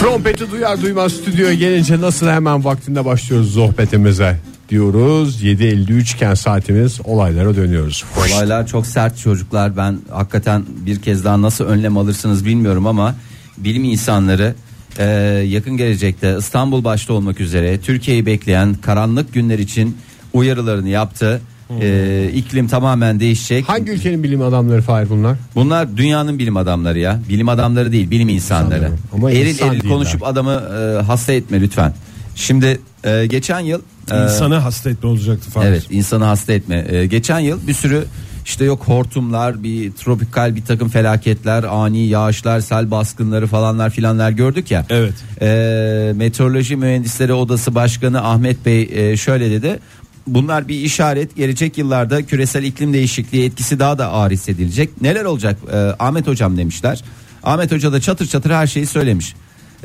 C: Trompeti duyar duymaz stüdyoya gelince nasıl hemen vaktinde başlıyoruz sohbetimize diyoruz. 7.53 iken saatimiz olaylara dönüyoruz.
B: Olaylar çok sert çocuklar. Ben hakikaten bir kez daha nasıl önlem alırsınız bilmiyorum ama bilim insanları e, yakın gelecekte İstanbul başta olmak üzere Türkiye'yi bekleyen karanlık günler için uyarılarını yaptı. E,
D: Hmm.
B: iklim tamamen değişecek.
C: Hangi ülkenin bilim adamları Fahir bunlar?
B: Bunlar dünyanın bilim adamları ya. Bilim adamları değil, bilim insanları.
C: İnsanları. Ama
B: eril
C: insan
B: eril
C: değiller.
B: konuşup adamı e, hasta etme lütfen. Şimdi e, geçen yıl e,
D: İnsanı hasta etme olacaktı falan.
B: Evet insanı hasta etme. Ee, geçen yıl bir sürü işte yok hortumlar bir tropikal bir takım felaketler ani yağışlar sel baskınları falanlar filanlar gördük ya.
D: Evet.
B: Ee, Meteoroloji Mühendisleri Odası Başkanı Ahmet Bey e, şöyle dedi. Bunlar bir işaret gelecek yıllarda küresel iklim değişikliği etkisi daha da ağır hissedilecek. Neler olacak Ee, Ahmet Hocam demişler. Ahmet Hoca da çatır çatır her şeyi söylemiş.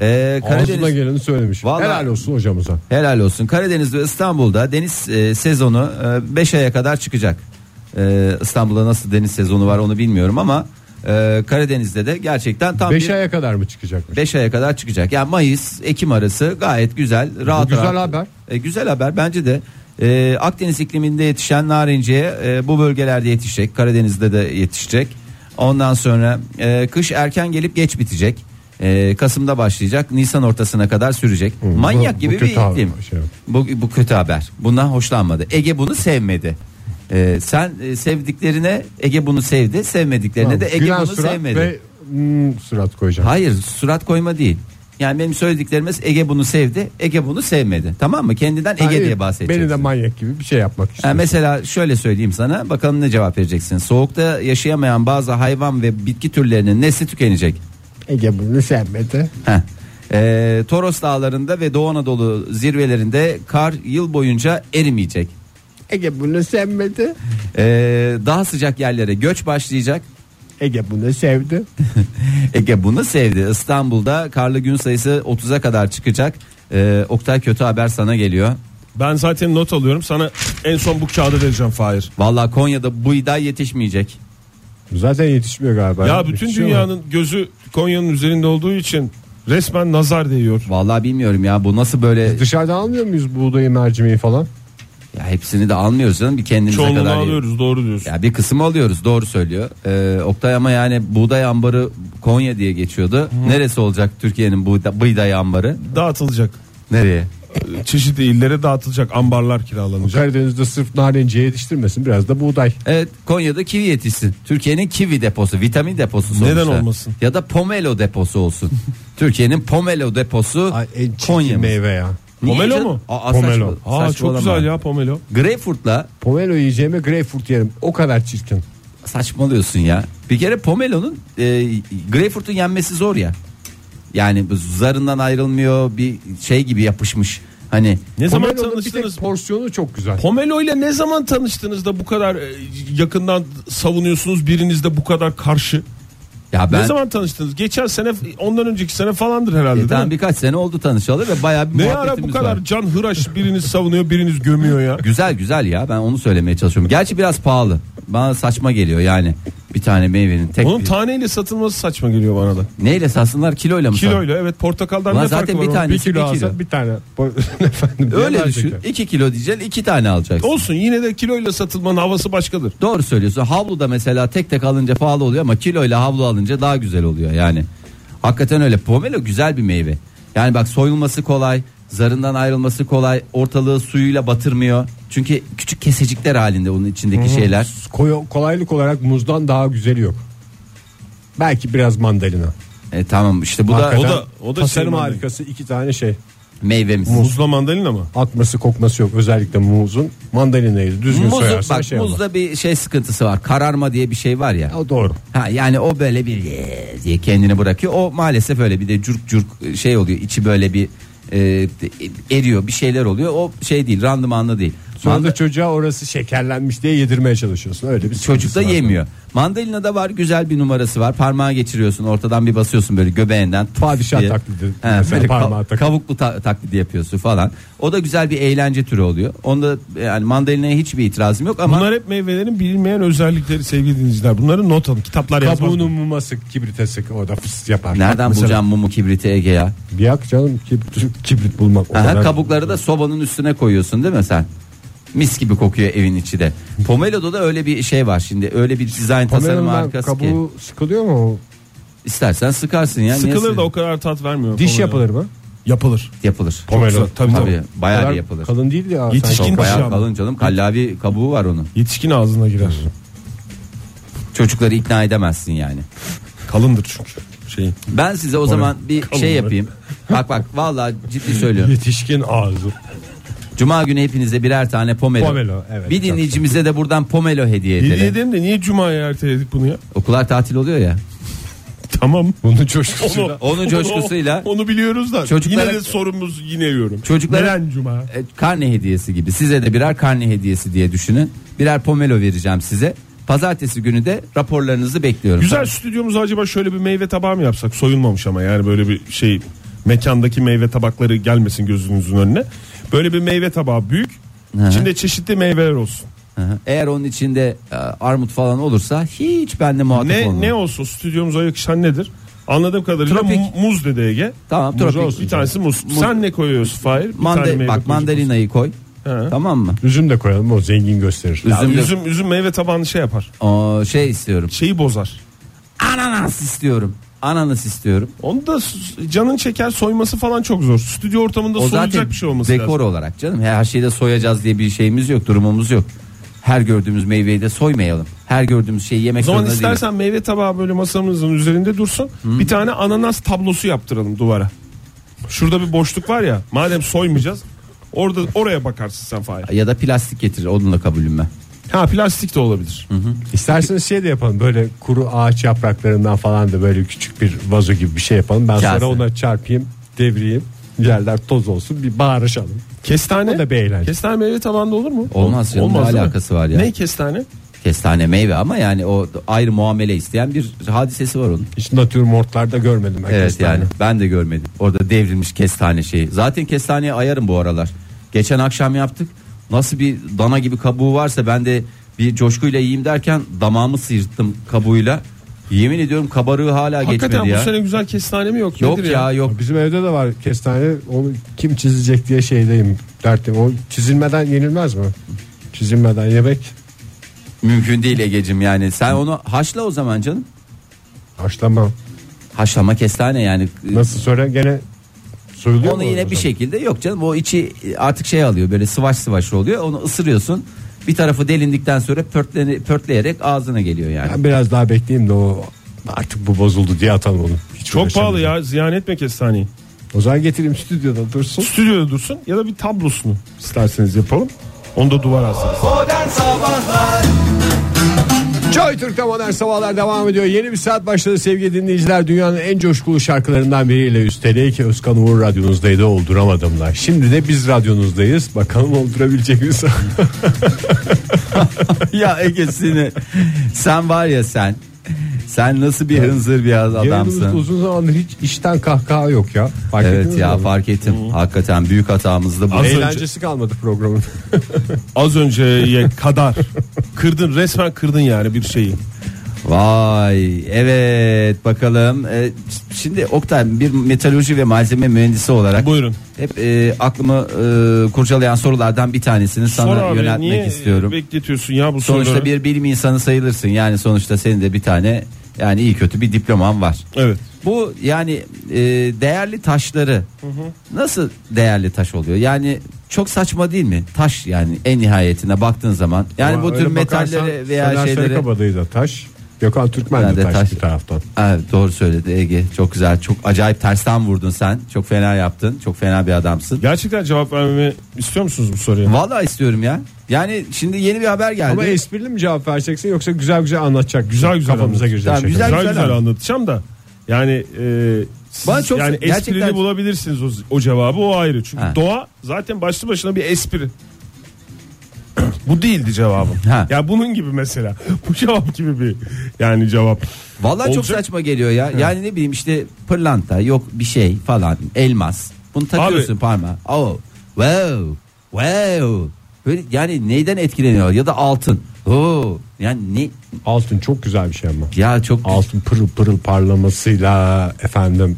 B: Ee,
C: Ağzına geleni söylemiş.
B: Vallahi-
C: Helal olsun hocamıza.
B: Helal olsun. Karadeniz ve İstanbul'da deniz e, sezonu 5 aya kadar çıkacak. E, İstanbul'da nasıl deniz sezonu var onu bilmiyorum ama Ee, Karadeniz'de de gerçekten tam
C: 5
B: bir
C: aya kadar mı çıkacakmış?
B: 5 aya kadar çıkacak. Yani Mayıs, Ekim arası gayet güzel, rahat
C: güzel
B: rahat.
C: haber.
B: E, güzel haber bence de. E, Akdeniz ikliminde yetişen narinciye e, bu bölgelerde yetişecek. Karadeniz'de de yetişecek. Ondan sonra e, kış erken gelip geç bitecek. E, Kasım'da başlayacak. Nisan ortasına kadar sürecek. Manyak
C: bu
B: gibi bir
C: kötü haber,
B: iklim.
C: şey.
B: Bu, bu kötü haber. Bundan hoşlanmadı. Ege bunu sevmedi. E, sen e, sevdiklerine Ege bunu sevdi. Sevmediklerine de Ege
C: Gülen
B: bunu
C: surat
B: sevmedi.
C: ve hmm, surat koyacağım.
B: Hayır surat koyma değil. Yani benim söylediklerimiz Ege bunu sevdi, Ege bunu sevmedi. Tamam mı? Kendinden Ege
C: Hayır,
B: diye bahsedeceksin.
C: Beni de manyak gibi bir şey yapmak
B: Ha,
C: istiyorsun.
B: mesela şöyle söyleyeyim sana bakalım ne cevap vereceksin. Soğukta yaşayamayan bazı hayvan ve bitki türlerinin nesli tükenecek.
C: Ege bunu sevmedi.
B: Heh. Ee, Toros dağlarında ve Doğu Anadolu zirvelerinde kar yıl boyunca erimeyecek.
C: Ege bunu sevmedi.
B: Ee, daha sıcak yerlere göç başlayacak.
C: Ege bunu sevdi.
B: Ege bunu sevdi. İstanbul'da karlı gün sayısı 30'a kadar çıkacak. Ee, Oktay kötü haber sana geliyor.
D: Ben zaten not alıyorum. Sana en son bu kağıdı vereceğim Fahir.
B: Vallahi Konya'da buğday yetişmeyecek.
C: Zaten yetişmiyor galiba.
D: ya bütün
B: şey
C: Yetişiyor mu?
D: dünyanın gözü Konya'nın üzerinde olduğu için resmen nazar değiyor.
B: Vallahi bilmiyorum ya bu nasıl böyle
C: Dışarıdan almıyor muyuz buğdayı mercimeği falan?
B: ya hepsini de almıyoruz canım bir kendimize
D: Çoğunluğunu
B: kadar.
D: alıyoruz doğru diyorsun.
B: Ya bir kısım alıyoruz doğru söylüyor. Ee, Oktay ama yani buğday ambarı Konya diye geçiyordu. Neresi olacak Türkiye'nin buğday, buğday ambarı?
D: Dağıtılacak.
B: Nereye?
D: Çeşitli illere dağıtılacak ambarlar kiralanacak.
C: Karadeniz'de sırf narenciye yetiştirmesin biraz da buğday.
B: Evet Konya'da kivi yetişsin. Türkiye'nin kivi deposu, vitamin deposu sonuçta.
D: Neden olmasın?
B: Ya da pomelo deposu olsun. Türkiye'nin pomelo deposu Konya.
C: Konya
B: mı?
C: meyve ya.
B: Niye
D: Pomelo
B: canım?
D: mu?
B: Aa,
C: Pomelo.
B: saçma-
D: Aa çok
B: saçmalama.
D: güzel ya pomelo.
B: Greyfurt'la
C: Pomelo yiyeceğime greyfurt yerim. O kadar çirkin.
B: Saçmalıyorsun ya. Bir kere pomelonun e, greyfurtun yenmesi zor ya. Yani bu zarından ayrılmıyor bir şey gibi yapışmış. Hani
D: Ne zaman
C: Pomelo'nun bir tek
D: tanıştınız?
C: porsiyonu çok güzel.
D: Pomelo ile ne zaman tanıştınız da bu kadar e, yakından savunuyorsunuz biriniz de bu kadar karşı?
B: ya ben
D: Ne zaman tanıştınız? Geçen sene ondan önceki sene falandır herhalde.
B: e,
D: değil
B: tam
D: mi?
B: birkaç sene oldu tanışalı ve bayağı bir
D: Ne ara
B: muhabbetimiz
D: bu kadar
B: var.
D: can hıraş biriniz savunuyor biriniz gömüyor ya.
B: Güzel güzel ya ben onu söylemeye çalışıyorum. Gerçi biraz pahalı. Bana saçma geliyor yani. Bir tane meyvenin tek
D: Onun
B: bir-
D: taneyle satılması saçma geliyor bana da.
B: neyle satsınlar kiloyla mı? sat-
D: Kiloyla evet portakaldan
B: Ulan
D: ne
B: zaten
D: farkı var?
B: bir
D: onun?
B: tane-
C: Bir
B: Tanesi
C: kilo
B: bir kilo.
C: alsak bir tane. Po- Efendim,
B: Öyle
C: diyorlar
B: düşün.
C: çünkü.
B: 2 kilo diyeceksin iki tane alacaksın.
D: Olsun yine de kiloyla satılmanın havası başkadır.
B: Doğru söylüyorsun. Havlu da mesela tek tek alınca pahalı oluyor ama kiloyla havlu alınca daha güzel oluyor yani. Hakikaten öyle. Pomelo güzel bir meyve. Yani bak soyulması kolay, zarından ayrılması kolay, ortalığı suyuyla batırmıyor. Çünkü küçük kesecikler halinde onun içindeki şeyler.
C: Koy- kolaylık olarak muzdan daha güzeli yok. Belki biraz mandalina.
B: E, tamam işte bu da
C: Hakikaten
B: o da
D: da- o da
C: tasarım
D: şey mandalina.
C: harikası iki tane şey.
B: meyvemiz.
D: Muzla mandalina mı?
C: Atması kokması yok özellikle muzun. Mandalinayı düzgün
B: Muzu,
C: soyarsan
B: bak
C: şey olur.
B: muzda bir şey sıkıntısı var. Kararma diye bir şey var ya.
C: O doğru.
B: Ha yani o böyle bir diye kendini bırakıyor. O maalesef öyle bir de cürk cürk şey oluyor. İçi böyle bir e, eriyor, bir şeyler oluyor. O şey değil, randımanlı değil.
C: Sonra
B: Manda-
C: da çocuğa orası şekerlenmiş diye yedirmeye çalışıyorsun. Öyle bir
B: Çocuk da
C: sıkıntısı var.
B: yemiyor. Mandalina da var güzel bir numarası var. Parmağı geçiriyorsun ortadan bir basıyorsun böyle göbeğinden. tuf
C: Padişah
B: diye.
C: taklidi.
B: He,
C: Mesela
B: böyle
C: parmağı
B: ka-
C: takıyor.
B: kavuklu ta- taklidi yapıyorsun falan. O da güzel bir eğlence türü oluyor. Onda yani mandalinaya hiçbir itirazım yok ama
D: Bunlar hep meyvelerin bilinmeyen özellikleri sevgili dinleyiciler. Bunları not alın. Kitaplar yazmaz.
C: Kabuğunu muma sık kibrite sık o da fıs yapar.
B: nereden
C: Mesela-
B: bulacağım mumu kibriti Ege ya?
C: Yak canım kibrit, kibrit bulmak. o
B: Aha,
C: kadar-
B: kabukları da sobanın üstüne koyuyorsun değil mi sen? Mis gibi kokuyor evin içi de. Pomelo'da da öyle bir şey var şimdi. Öyle bir dizayn tasarım
C: Pomelon'dan
B: harikası ki.
C: kabuğu sıkılıyor mu? o?
B: İstersen sıkarsın ya. niye
D: Sıkılır da o
B: sıkıyorsun?
D: kadar tat vermiyor.
C: Diş
D: Pomelo.
C: yapılır mı?
D: Yapılır.
B: yapılır.
C: Çok
D: Pomelo.
C: güzel.
D: Tabii,
B: Tabii,
D: tabii.
B: bayağı
C: kadar
B: bir yapılır.
C: Kalın değil ya.
D: Yetişkin
C: sanki.
D: diş
B: Bayağı
D: yapılır.
B: kalın canım. Kallavi kabuğu var onun.
D: Yetişkin ağzına girer.
B: Çocukları ikna edemezsin yani.
D: Kalındır çünkü. Şey.
B: Ben size o zaman bir şey yapayım. Bak bak vallahi ciddi söylüyorum.
C: Yetişkin ağzı.
B: Cuma günü hepinize birer tane pomelo.
C: Pomelo, evet.
B: bir dinleyicimize de buradan pomelo hediye
D: Hediye
B: edelim.
D: edelim de niye Cuma'ya erteledik bunu ya?
B: Okullar tatil oluyor ya.
D: Tamam.
C: Bunun coşkusu.
D: Onu,
B: Onun coşkusuyla-
D: Onu, biliyoruz da.
B: Çocuklara-
D: Yine de sorumuz yineliyorum.
B: Çocuklara-
D: Neden Cuma?
B: E, karne hediyesi gibi. Size de birer karne hediyesi diye düşünün. Birer pomelo vereceğim size. Pazartesi günü de raporlarınızı bekliyorum.
D: Güzel stüdyomuza acaba şöyle bir meyve tabağı mı yapsak? Soyulmamış ama yani böyle bir şey mekandaki meyve tabakları gelmesin gözünüzün önüne. Böyle bir meyve tabağı büyük.
B: Hı hı.
D: İçinde çeşitli meyveler olsun.
B: hı. Eğer onun içinde e, armut falan olursa hiç benimle muhatap
D: Ne
B: olma.
D: ne olsun stüdyomuza yakışan nedir? Anladığım kadarıyla
B: Tropik.
D: mu- muz dedi Ege.
B: Tamam,
D: Muz
B: tropik.
D: olsun. Bir tanesi muz.
B: Muz.
D: Sen ne koyuyorsun Fahir? Bir
B: Manda-
D: tane meyve
B: bak
D: koyacak mısın?
B: mandalinayı koy.
D: He.
B: Tamam mı?
C: Üzüm de koyalım o zengin gösterir.
B: Üzüm-
D: Ya üzüm, üzüm meyve tabanlı şey yapar.
B: Aa, şey istiyorum.
D: Şeyi bozar.
B: Ananas istiyorum. Ananas istiyorum.
D: Onu da s- canın çeker soyması falan çok zor. Stüdyo ortamında
B: O
D: soyulacak
B: zaten
D: bir şey olması
B: dekor
D: lazım.
B: olarak canım. Her şeyi de soyacağız diye bir şeyimiz yok, durumumuz yok. Her gördüğümüz meyveyi de soymayalım. Her gördüğümüz şeyi yemek
D: O zaman
B: zorunda değiliz.
D: istersen meyve tabağı böyle masamızın üzerinde dursun. Bir tane ananas tablosu yaptıralım duvara. Şurada bir boşluk var ya. Madem soymayacağız. Orada oraya bakarsın sen Fahir.
B: Ya da plastik getirir. Onunla kabulüm ben.
D: Ha plastik de olabilir.
C: İsterseniz şey de yapalım böyle kuru ağaç yapraklarından falan da böyle küçük bir vazo gibi bir şey yapalım. Ben
B: Kase.
C: sonra ona çarpayım devriyim yerler toz olsun bir bağırışalım.
D: Kestane.
C: O da bir eğlence.
D: Kestane meyve tabanda olur mu?
B: Olmaz canım, ne
D: değil mi?
B: alakası var ya?
D: Ne kestane?
B: Kestane meyve ama yani o ayrı muamele isteyen bir hadisesi var onun.
C: Hiç natürmortlarda görmedim. ben
B: Evet
C: kestane.
B: yani ben de görmedim. Orada devrilmiş kestane şeyi. Zaten kestaneye ayarım bu aralar. Geçen akşam yaptık. Nasıl bir dana gibi kabuğu varsa ben de bir coşkuyla yiyeyim derken damağımı sıyırttım kabuğuyla. Yemin ediyorum kabarığı hala
D: Hakikaten
B: geçmedi
D: bu
B: ya.
D: sene güzel kestane mi yok?
B: Yok
D: Nedir
B: ya yok.
C: Bizim evde de var kestane onu kim çizecek diye şeydeyim dertim. O çizilmeden yenilmez mi? Çizilmeden yemek
B: Mümkün değil Ege'cim yani. Sen onu haşla o zaman canım.
C: haşlama.
B: Haşlama kestane yani.
C: Nasıl sonra gene soyuluyor
B: Onu
C: mu o
B: yine bir şey-
C: zaman?
B: şekilde yok canım o içi artık şey alıyor böyle sıvaş sıvaş oluyor onu ısırıyorsun bir tarafı delindikten sonra pörtleni, pörtleyerek ağzına geliyor yani.
C: Ben biraz daha bekleyeyim de o artık bu bozuldu diye atalım onu. Hiç
D: Çok
C: uğraşamayacağım.
D: pahalı ya ziyan etme kestaneyi.
C: O zaman getireyim stüdyoda dursun.
D: Stüdyoda dursun ya da bir tablosunu isterseniz yapalım. Onu da duvara asarız.
C: Joy Türk'te modern sabahlar devam ediyor. Yeni bir saat başladı sevgili dinleyiciler. Dünyanın en coşkulu şarkılarından biriyle üstelik Özkan Uğur radyonuzdaydı olduramadımlar. Şimdi de biz radyonuzdayız. Bakalım oldurabilecek miyiz?
B: ya Ege'sini sen var ya sen sen nasıl bir hınzır bir
C: Yayınımızda
B: adamsın.
C: uzun zamandır hiç işten kahkaha yok ya. Fark ettiniz
B: Evet
C: mi
B: ya
C: onu?
B: fark ettim. Hakikaten büyük hatamızdı bu.
D: Az önce-
C: Eğlencesi kalmadı programın.
D: Az önceye kadar kırdın resmen kırdın yani bir şeyi.
B: Vay evet bakalım. Ee, şimdi Oktay bir metalurji ve malzeme mühendisi olarak
D: Buyurun.
B: hep e, aklımı e, kurcalayan sorulardan bir tanesini sana
D: Sonra abi
B: yöneltmek
D: niye
B: istiyorum.
D: bekletiyorsun ya bu soruları?
B: Sonuçta bir bilim insanı sayılırsın. Yani sonuçta senin de bir tane yani iyi kötü bir diploman var.
D: Evet.
B: Bu yani e, değerli taşları nasıl değerli taş oluyor? Yani çok saçma değil mi? Taş yani en nihayetine baktığın zaman. Yani
C: Ama
B: Hani bu tür
C: öyle bakarsan
B: metallere veya
C: Soner
B: şeylere.
C: Sarıkabadayı da taş. Gökhan Türkmen
B: Ben
C: de
B: de
C: taş,
B: taş.
C: bir taraftan.
B: Evet, doğru söyledi Ege. Çok güzel. Çok acayip tersten vurdun sen. Çok fena yaptın. Çok fena bir adamsın.
D: Gerçekten cevap vermemi istiyor musunuz bu soruya?
B: Vallahi istiyorum ya. Yani şimdi yeni bir haber geldi.
C: Ama esprili mi cevap vereceksin yoksa güzel güzel anlatacak.
D: Güzel güzel
C: Kafamıza
D: anlatacak.
C: girecek.
B: Tamam,
C: şaka.
B: güzel
D: Güzel güzel,
B: anlat.
D: anlatacağım da yani e, siz
B: Bana çok-
D: yani
B: gerçekten-
D: esprili bulabilirsiniz o, o cevabı o ayrı. Çünkü
B: Ha.
D: doğa zaten başlı başına bir espri. bu değildi cevabım.
B: Ha.
D: Ya bunun gibi mesela. Bu cevap gibi bir yani cevap.
B: Vallahi çok
D: Olacak-
B: saçma geliyor ya. Yani ne bileyim işte pırlanta yok bir şey falan elmas. Bunu takıyorsun parmağa. Oh. Wow. Wow. Böyle yani neyden etkileniyor ya da altın. Oo. Yani ne
C: Altın çok güzel bir şey ama.
B: ya çok
C: Altın pırıl pırıl parlamasıyla efendim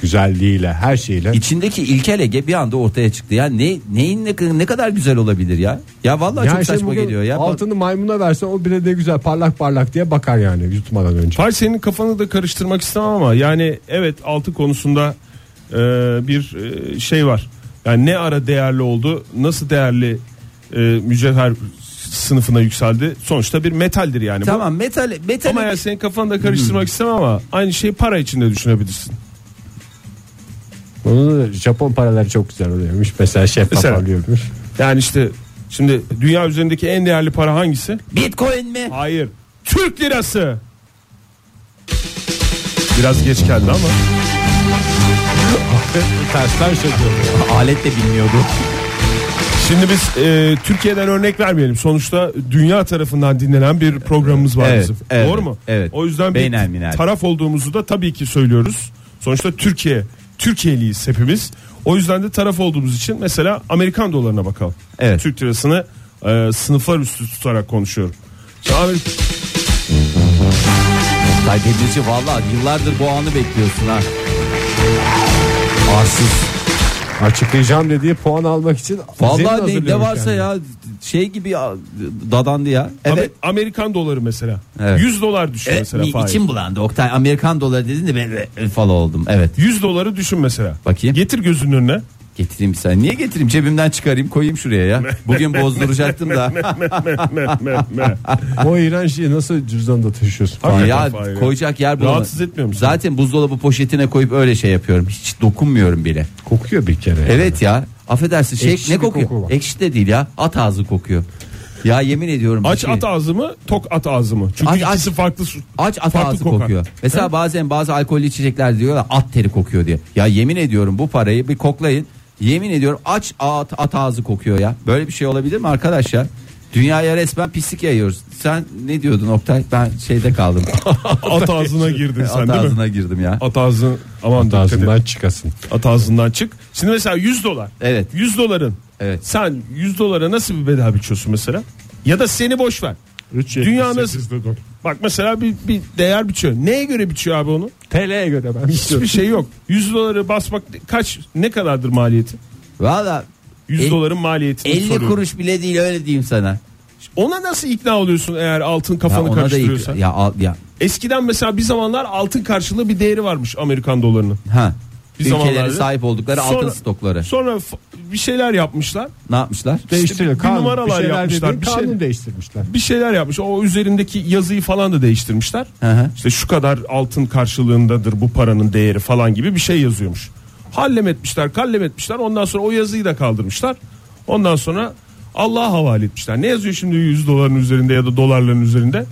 C: güzelliğiyle her şeyle.
B: içindeki ilkel Ege bir anda ortaya çıktı. Ya ne neyin ne, ne kadar güzel olabilir ya? Ya vallahi
C: Yani
B: çok
C: şey
B: saçma
C: bugün
B: geliyor ya.
C: Altını maymuna versen o bile de güzel parlak parlak diye bakar yani yutmadan önce.
D: Fahir senin kafanı da karıştırmak istemem ama yani evet altı konusunda e, bir e, şey var. Yani ne ara değerli oldu, nasıl değerli e, mücevher sınıfına yükseldi. Sonuçta bir metaldir yani. bu.
B: Tamam metal metal
D: Ama ya senin kafanı da karıştırmak istemem ama aynı şeyi para içinde düşünebilirsin.
C: Onun da Japon paraları çok güzel oluyormuş. Mesela şeffaf
D: Mesela.
C: oluyormuş.
D: Yani işte şimdi dünya üzerindeki en değerli para hangisi?
B: Bitcoin mi?
D: Hayır. Türk lirası. Biraz geç geldi ama.
C: Tersten şaşırıyor.
B: Alet de bilmiyordu.
D: Şimdi biz e, Türkiye'den örnek vermeyelim. Sonuçta dünya tarafından dinlenen bir programımız var
B: Evet,
D: bizim.
B: evet,
D: Doğru mu?
B: evet.
D: O yüzden bir
B: Beynelminel.
D: taraf olduğumuzu da tabii ki söylüyoruz. Sonuçta Türkiye, Türkiye'liyiz hepimiz. O yüzden de taraf olduğumuz için mesela Amerikan dolarına bakalım.
B: Evet.
D: Türk lirasını e, sınıflar üstü tutarak konuşuyorum. Abi
B: Tay Demirci valla yıllardır bu anı bekliyorsun ha. Arsız.
C: Açıklayacağım dediği puan almak için zemin
B: Valla ne,
C: hazırlıyormuş
B: ne varsa
C: yani.
B: ya şey gibi ya, dadandı ya. Evet.
D: Amer- Amerikan doları mesela.
B: Evet. E,
D: 100 dolar düşün
B: Evet,
D: E, mesela.
B: bir
D: faiz.
B: içim bulandı Oktay Amerikan doları dedin de ben e, falan oldum evet
D: 100 doları düşün mesela.
B: Bakayım.
D: Getir gözünün önüne.
B: getireyim sen niye getireyim cebimden çıkarayım koyayım şuraya ya bugün bozduracaktım da
C: O iğrenç şeyi nasıl cüzdanda taşıyorsun?
D: Hakikaten
B: ya
D: fare.
B: koyacak yer bulamadım
D: Rahatsız etmiyor musun?
B: zaten buzdolabı poşetine koyup öyle şey yapıyorum hiç dokunmuyorum bile
C: Kokuyor bir kere.
B: Evet ya. Affedersin şey
C: Ekşi
B: ne
C: bir
B: kokuyor?
C: koku var.
B: Ekşi de değil ya. At ağzı kokuyor. Ya yemin ediyorum. bir
D: Aç
B: şey-
D: at ağzımı, tok at ağzımı. Çünkü
B: Aç-
D: ikisi
B: aç.
D: farklı. su-
B: Aç at
D: farklı
B: ağzı
D: kokar.
B: kokuyor. Mesela bazen bazı alkollü içecekler diyorlar at teri kokuyor diye. Ya yemin ediyorum bu parayı bir koklayın. Yemin ediyorum aç at, at ağzı kokuyor ya. Böyle bir şey olabilir mi arkadaş ya? Dünyaya resmen pislik yayıyoruz. Sen ne diyordun Oktay? Ben şeyde kaldım.
D: At ağzına girdin sen
B: at
D: değil mi?
B: ağzına girdim ya.
D: At ağzın aman
C: At
D: dikkat et.
C: ağzından çıkasın.
D: At ağzından çık. Şimdi mesela 100 dolar.
B: Evet.
D: 100 doların.
B: Evet.
D: Sen 100 dolara nasıl bir bedel biçiyorsun mesela? Ya da seni boş ver.
C: Şey,
D: Dünya nasıl? Bak mesela bir, bir değer biçiyor. Neye göre biçiyor abi onu?
C: TL'ye göre ben.
D: Hiçbir şey yok. 100 doları basmak kaç ne kadardır maliyeti?
B: Valla
D: 100
B: El-
D: doların maliyetini
B: 50
D: soruyorum.
B: kuruş bile değil öyle diyeyim sana.
D: Ona nasıl ikna oluyorsun eğer altın
B: Ya
D: kafanı
B: ona da
D: karıştırıyorsa?
B: ya, al- ya
D: Eskiden mesela bir zamanlar altın karşılığı bir değeri varmış Amerikan dolarının.
B: Ha.
D: Bir
B: Ülkelerin
D: zamanlarda.
B: sahip oldukları altın
D: Sonra-
B: stokları.
D: Sonra f- bir şeyler yapmışlar.
B: Ne yapmışlar?
C: Değiştiriyor.
D: bir numaralar
C: şeyler
D: yapmışlar,
C: dediğin
D: bir şey-
C: kanun değiştirmişler.
D: Bir şeyler yapmış. O üzerindeki yazıyı falan da değiştirmişler.
B: Hı hı.
D: İşte şu kadar altın karşılığındadır bu paranın değeri falan gibi bir şey yazıyormuş. Hallem etmişler, kallem etmişler. Ondan sonra o yazıyı da kaldırmışlar. Ondan sonra Allah'a havale etmişler. Ne yazıyor şimdi 100 doların üzerinde ya da dolarların üzerinde?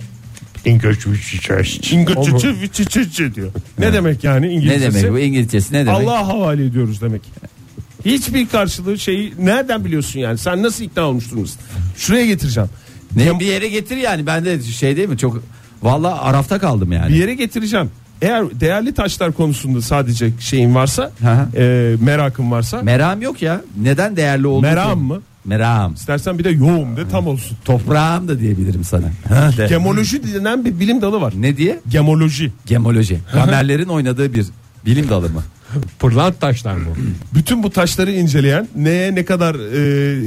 D: İngilizce viçi çiçi diyor. Ne demek yani
B: Ne
D: İngilizcesi?
B: demek bu İngilizcesi ne demek?
D: Allah'a havale ediyoruz demek. Hiçbir karşılığı şeyi nereden biliyorsun yani? Sen nasıl ikna olmuş durumdasın? Şuraya getireceğim.
B: Ne bir yere getir yani ben de şey değil mi çok valla arafta kaldım yani.
D: Bir yere getireceğim. Eğer değerli taşlar konusunda sadece şeyin varsa,
B: Hı hı.
D: e, merakın varsa,
B: Meram yok ya. Neden değerli oldu?
D: Meram mı?
B: Meram.
D: istersen bir de yoğum de tam olsun.
B: Toprağım da diyebilirim sana. Ha, de.
D: Gemoloji denen bir bilim dalı var.
B: ne diye?
D: Gemoloji.
B: Gemoloji. Kamerlerin oynadığı bir bilim dalı mı?
C: Pırlant taşlar mı?
D: Bütün bu taşları inceleyen, neye ne kadar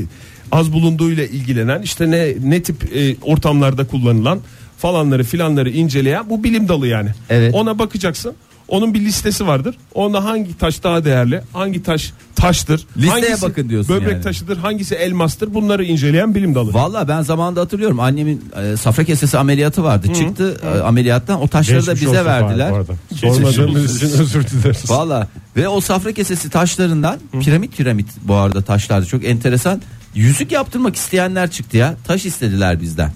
D: e, az bulunduğuyla ilgilenen, işte ne ne tip e, ortamlarda kullanılan falanları filanları inceleyen bu bilim dalı yani.
B: Evet.
D: Ona bakacaksın. Onun bir listesi vardır. Onda hangi taş daha değerli, hangi taş taştır,
B: Listeye
D: hangisi
B: bakın diyorsun
D: Böbrek
B: yani.
D: taşıdır, hangisi elmastır. Bunları inceleyen bilim dalı.
B: Valla ben zamanında hatırlıyorum annemin e, safra kesesi ameliyatı vardı. Çıktı e, ameliyattan o taşları
C: Geçmiş
B: da
C: olsun
B: bize
C: Fahir bu
B: verdiler.
C: arada. Sormadığımız için özür dileriz.
B: Valla ve o safra kesesi taşlarından piramit piramit bu arada taşlardı çok enteresan. Yüzük yaptırmak isteyenler çıktı ya taş istediler bizden.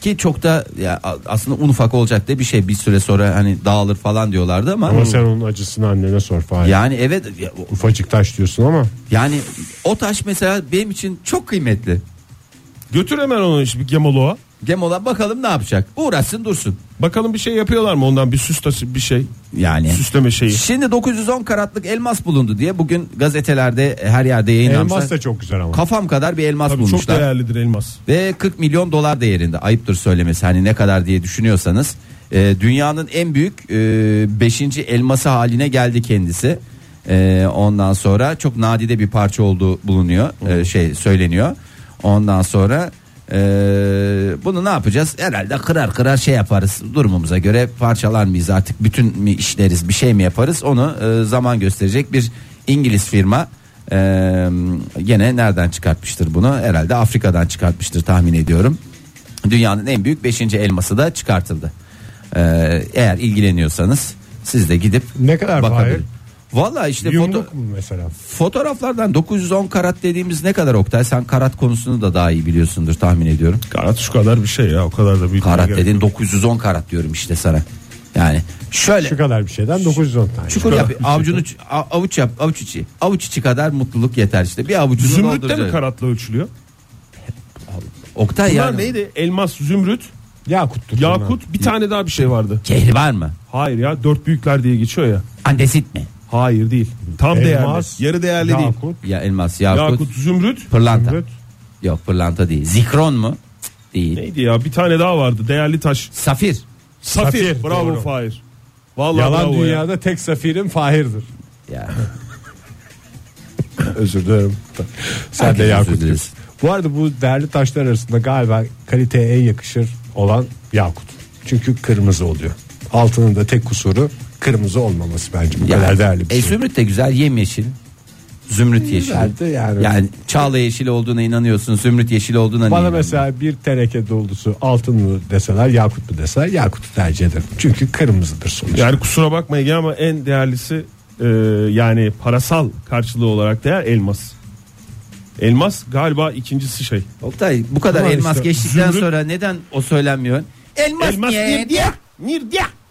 B: Ki çok da ya a- aslında un ufak olacak diye bir şey bir süre sonra hani dağılır falan diyorlardı ama.
C: Ama sen onun acısını annene sor Fahir.
B: Yani evet ya-
C: Ufacık taş diyorsun ama
B: yani o taş mesela benim için çok kıymetli.
D: Götür hemen onu işte bir gemoloğa.
B: Gemola bakalım ne yapacak uğraşsın dursun.
D: Bakalım bir şey yapıyorlar mı ondan bir süs taşı bir şey.
B: Yani
D: Süsleme şeyi.
B: şimdi 910 karatlık elmas bulundu diye bugün gazetelerde her yerde yayınlanmış.
C: elmas da çok güzel ama.
B: Kafam kadar bir elmas
D: Tabii çok
B: bulmuşlar.
D: değerlidir elmas.
B: ve 40 milyon dolar değerinde ayıptır söylemesi hani ne kadar diye düşünüyorsanız Ee, dünyanın en büyük 5. elması haline geldi kendisi Ee, ondan sonra çok nadide bir parça olduğu bulunuyor ee, şey söyleniyor ondan sonra ee, bunu ne yapacağız herhalde kırar kırar şey yaparız durumumuza göre parçalar mıyız artık bütün mi işleriz bir şey mi yaparız onu ee, zaman gösterecek bir İngiliz firma ee, gene nereden çıkartmıştır bunu? Herhalde Afrika'dan çıkartmıştır tahmin ediyorum. Dünyanın en büyük 5. elması da çıkartıldı. Ee, eğer ilgileniyorsanız siz de gidip
C: Ne kadar
B: bakabilir.
C: Fahir?
B: Valla işte
C: Yumruk
B: foto-
C: mu mesela?
B: fotoğraflardan 910 karat dediğimiz ne kadar Oktay? Sen karat konusunu da daha iyi biliyorsundur tahmin ediyorum.
D: Karat şu kadar bir şey ya o kadar da büyük.
B: Karat
D: gerek
B: dediğin 910 karat diyorum işte sana. Yani şöyle
C: Şu kadar bir şeyden 910 tane.
B: çukur yap avucunu ç- a- avuç yap avuç içi avuç içi kadar mutluluk yeter işte bir avucunu
D: Zümrütte mi
B: dolduracaksın.
D: karatla ölçülüyor?
B: Oktay
D: Bunlar
B: yani
D: neydi? Elmas, zümrüt,
C: Yakuttur.
D: yakut bir tane daha bir şey vardı.
B: Kehribar mı?
D: Hayır ya dört büyükler diye geçiyor ya.
B: Andesit mi?
D: Hayır değil. Tam
C: Elmas,
D: değerli. Yarı değerli değil.
C: yakut,
B: Ya elmas, yakut,
D: Yakut, zümrüt,
B: pırlanta.
C: zümrüt,
B: Yok pırlanta değil. Zikron mu? Cık, Değil.
D: Neydi ya bir tane daha vardı değerli taş.
B: Safir.
D: Safir.
C: Safir,
D: bravo
C: doğru.
D: Fahir. Vallahi
C: Yalan
D: bravo ya.
C: dünyada tek safirin Fahir'dir.
B: Ya.
C: Özür dilerim. Sen de
B: Herkes özür
C: Yakut
B: dileriz.
C: diyorsun. Bu arada bu değerli taşlar arasında galiba kaliteye en yakışır olan Yakut. Çünkü kırmızı oluyor. Altının da tek kusuru kırmızı olmaması bence bu
B: Ya.
C: kadar değerli bir
B: E,
C: şey.
B: zümrüt de güzel yemyeşil. Zümrüt yeşil.
C: Güzel de yani.
B: Yani çağla yeşil olduğuna inanıyorsun. Zümrüt yeşil olduğuna niye
C: Bana
B: inanmıyorsun?
C: mesela bir teneke dolusu altın mı deseler yakut mu deseler yakutu tercih ederim. Çünkü kırmızıdır sonuçta.
D: Yani kusura bakmayın ama en değerlisi e, yani parasal karşılığı olarak değer elmas. Elmas galiba ikincisi şey.
B: Oktay bu kadar
C: Tamam
B: elmas
C: işte,
B: geçtikten
D: zümrüt-
B: sonra neden o söylenmiyor? Elmas,
D: Elmas
B: niye?
D: nirdiya. Nirdiya.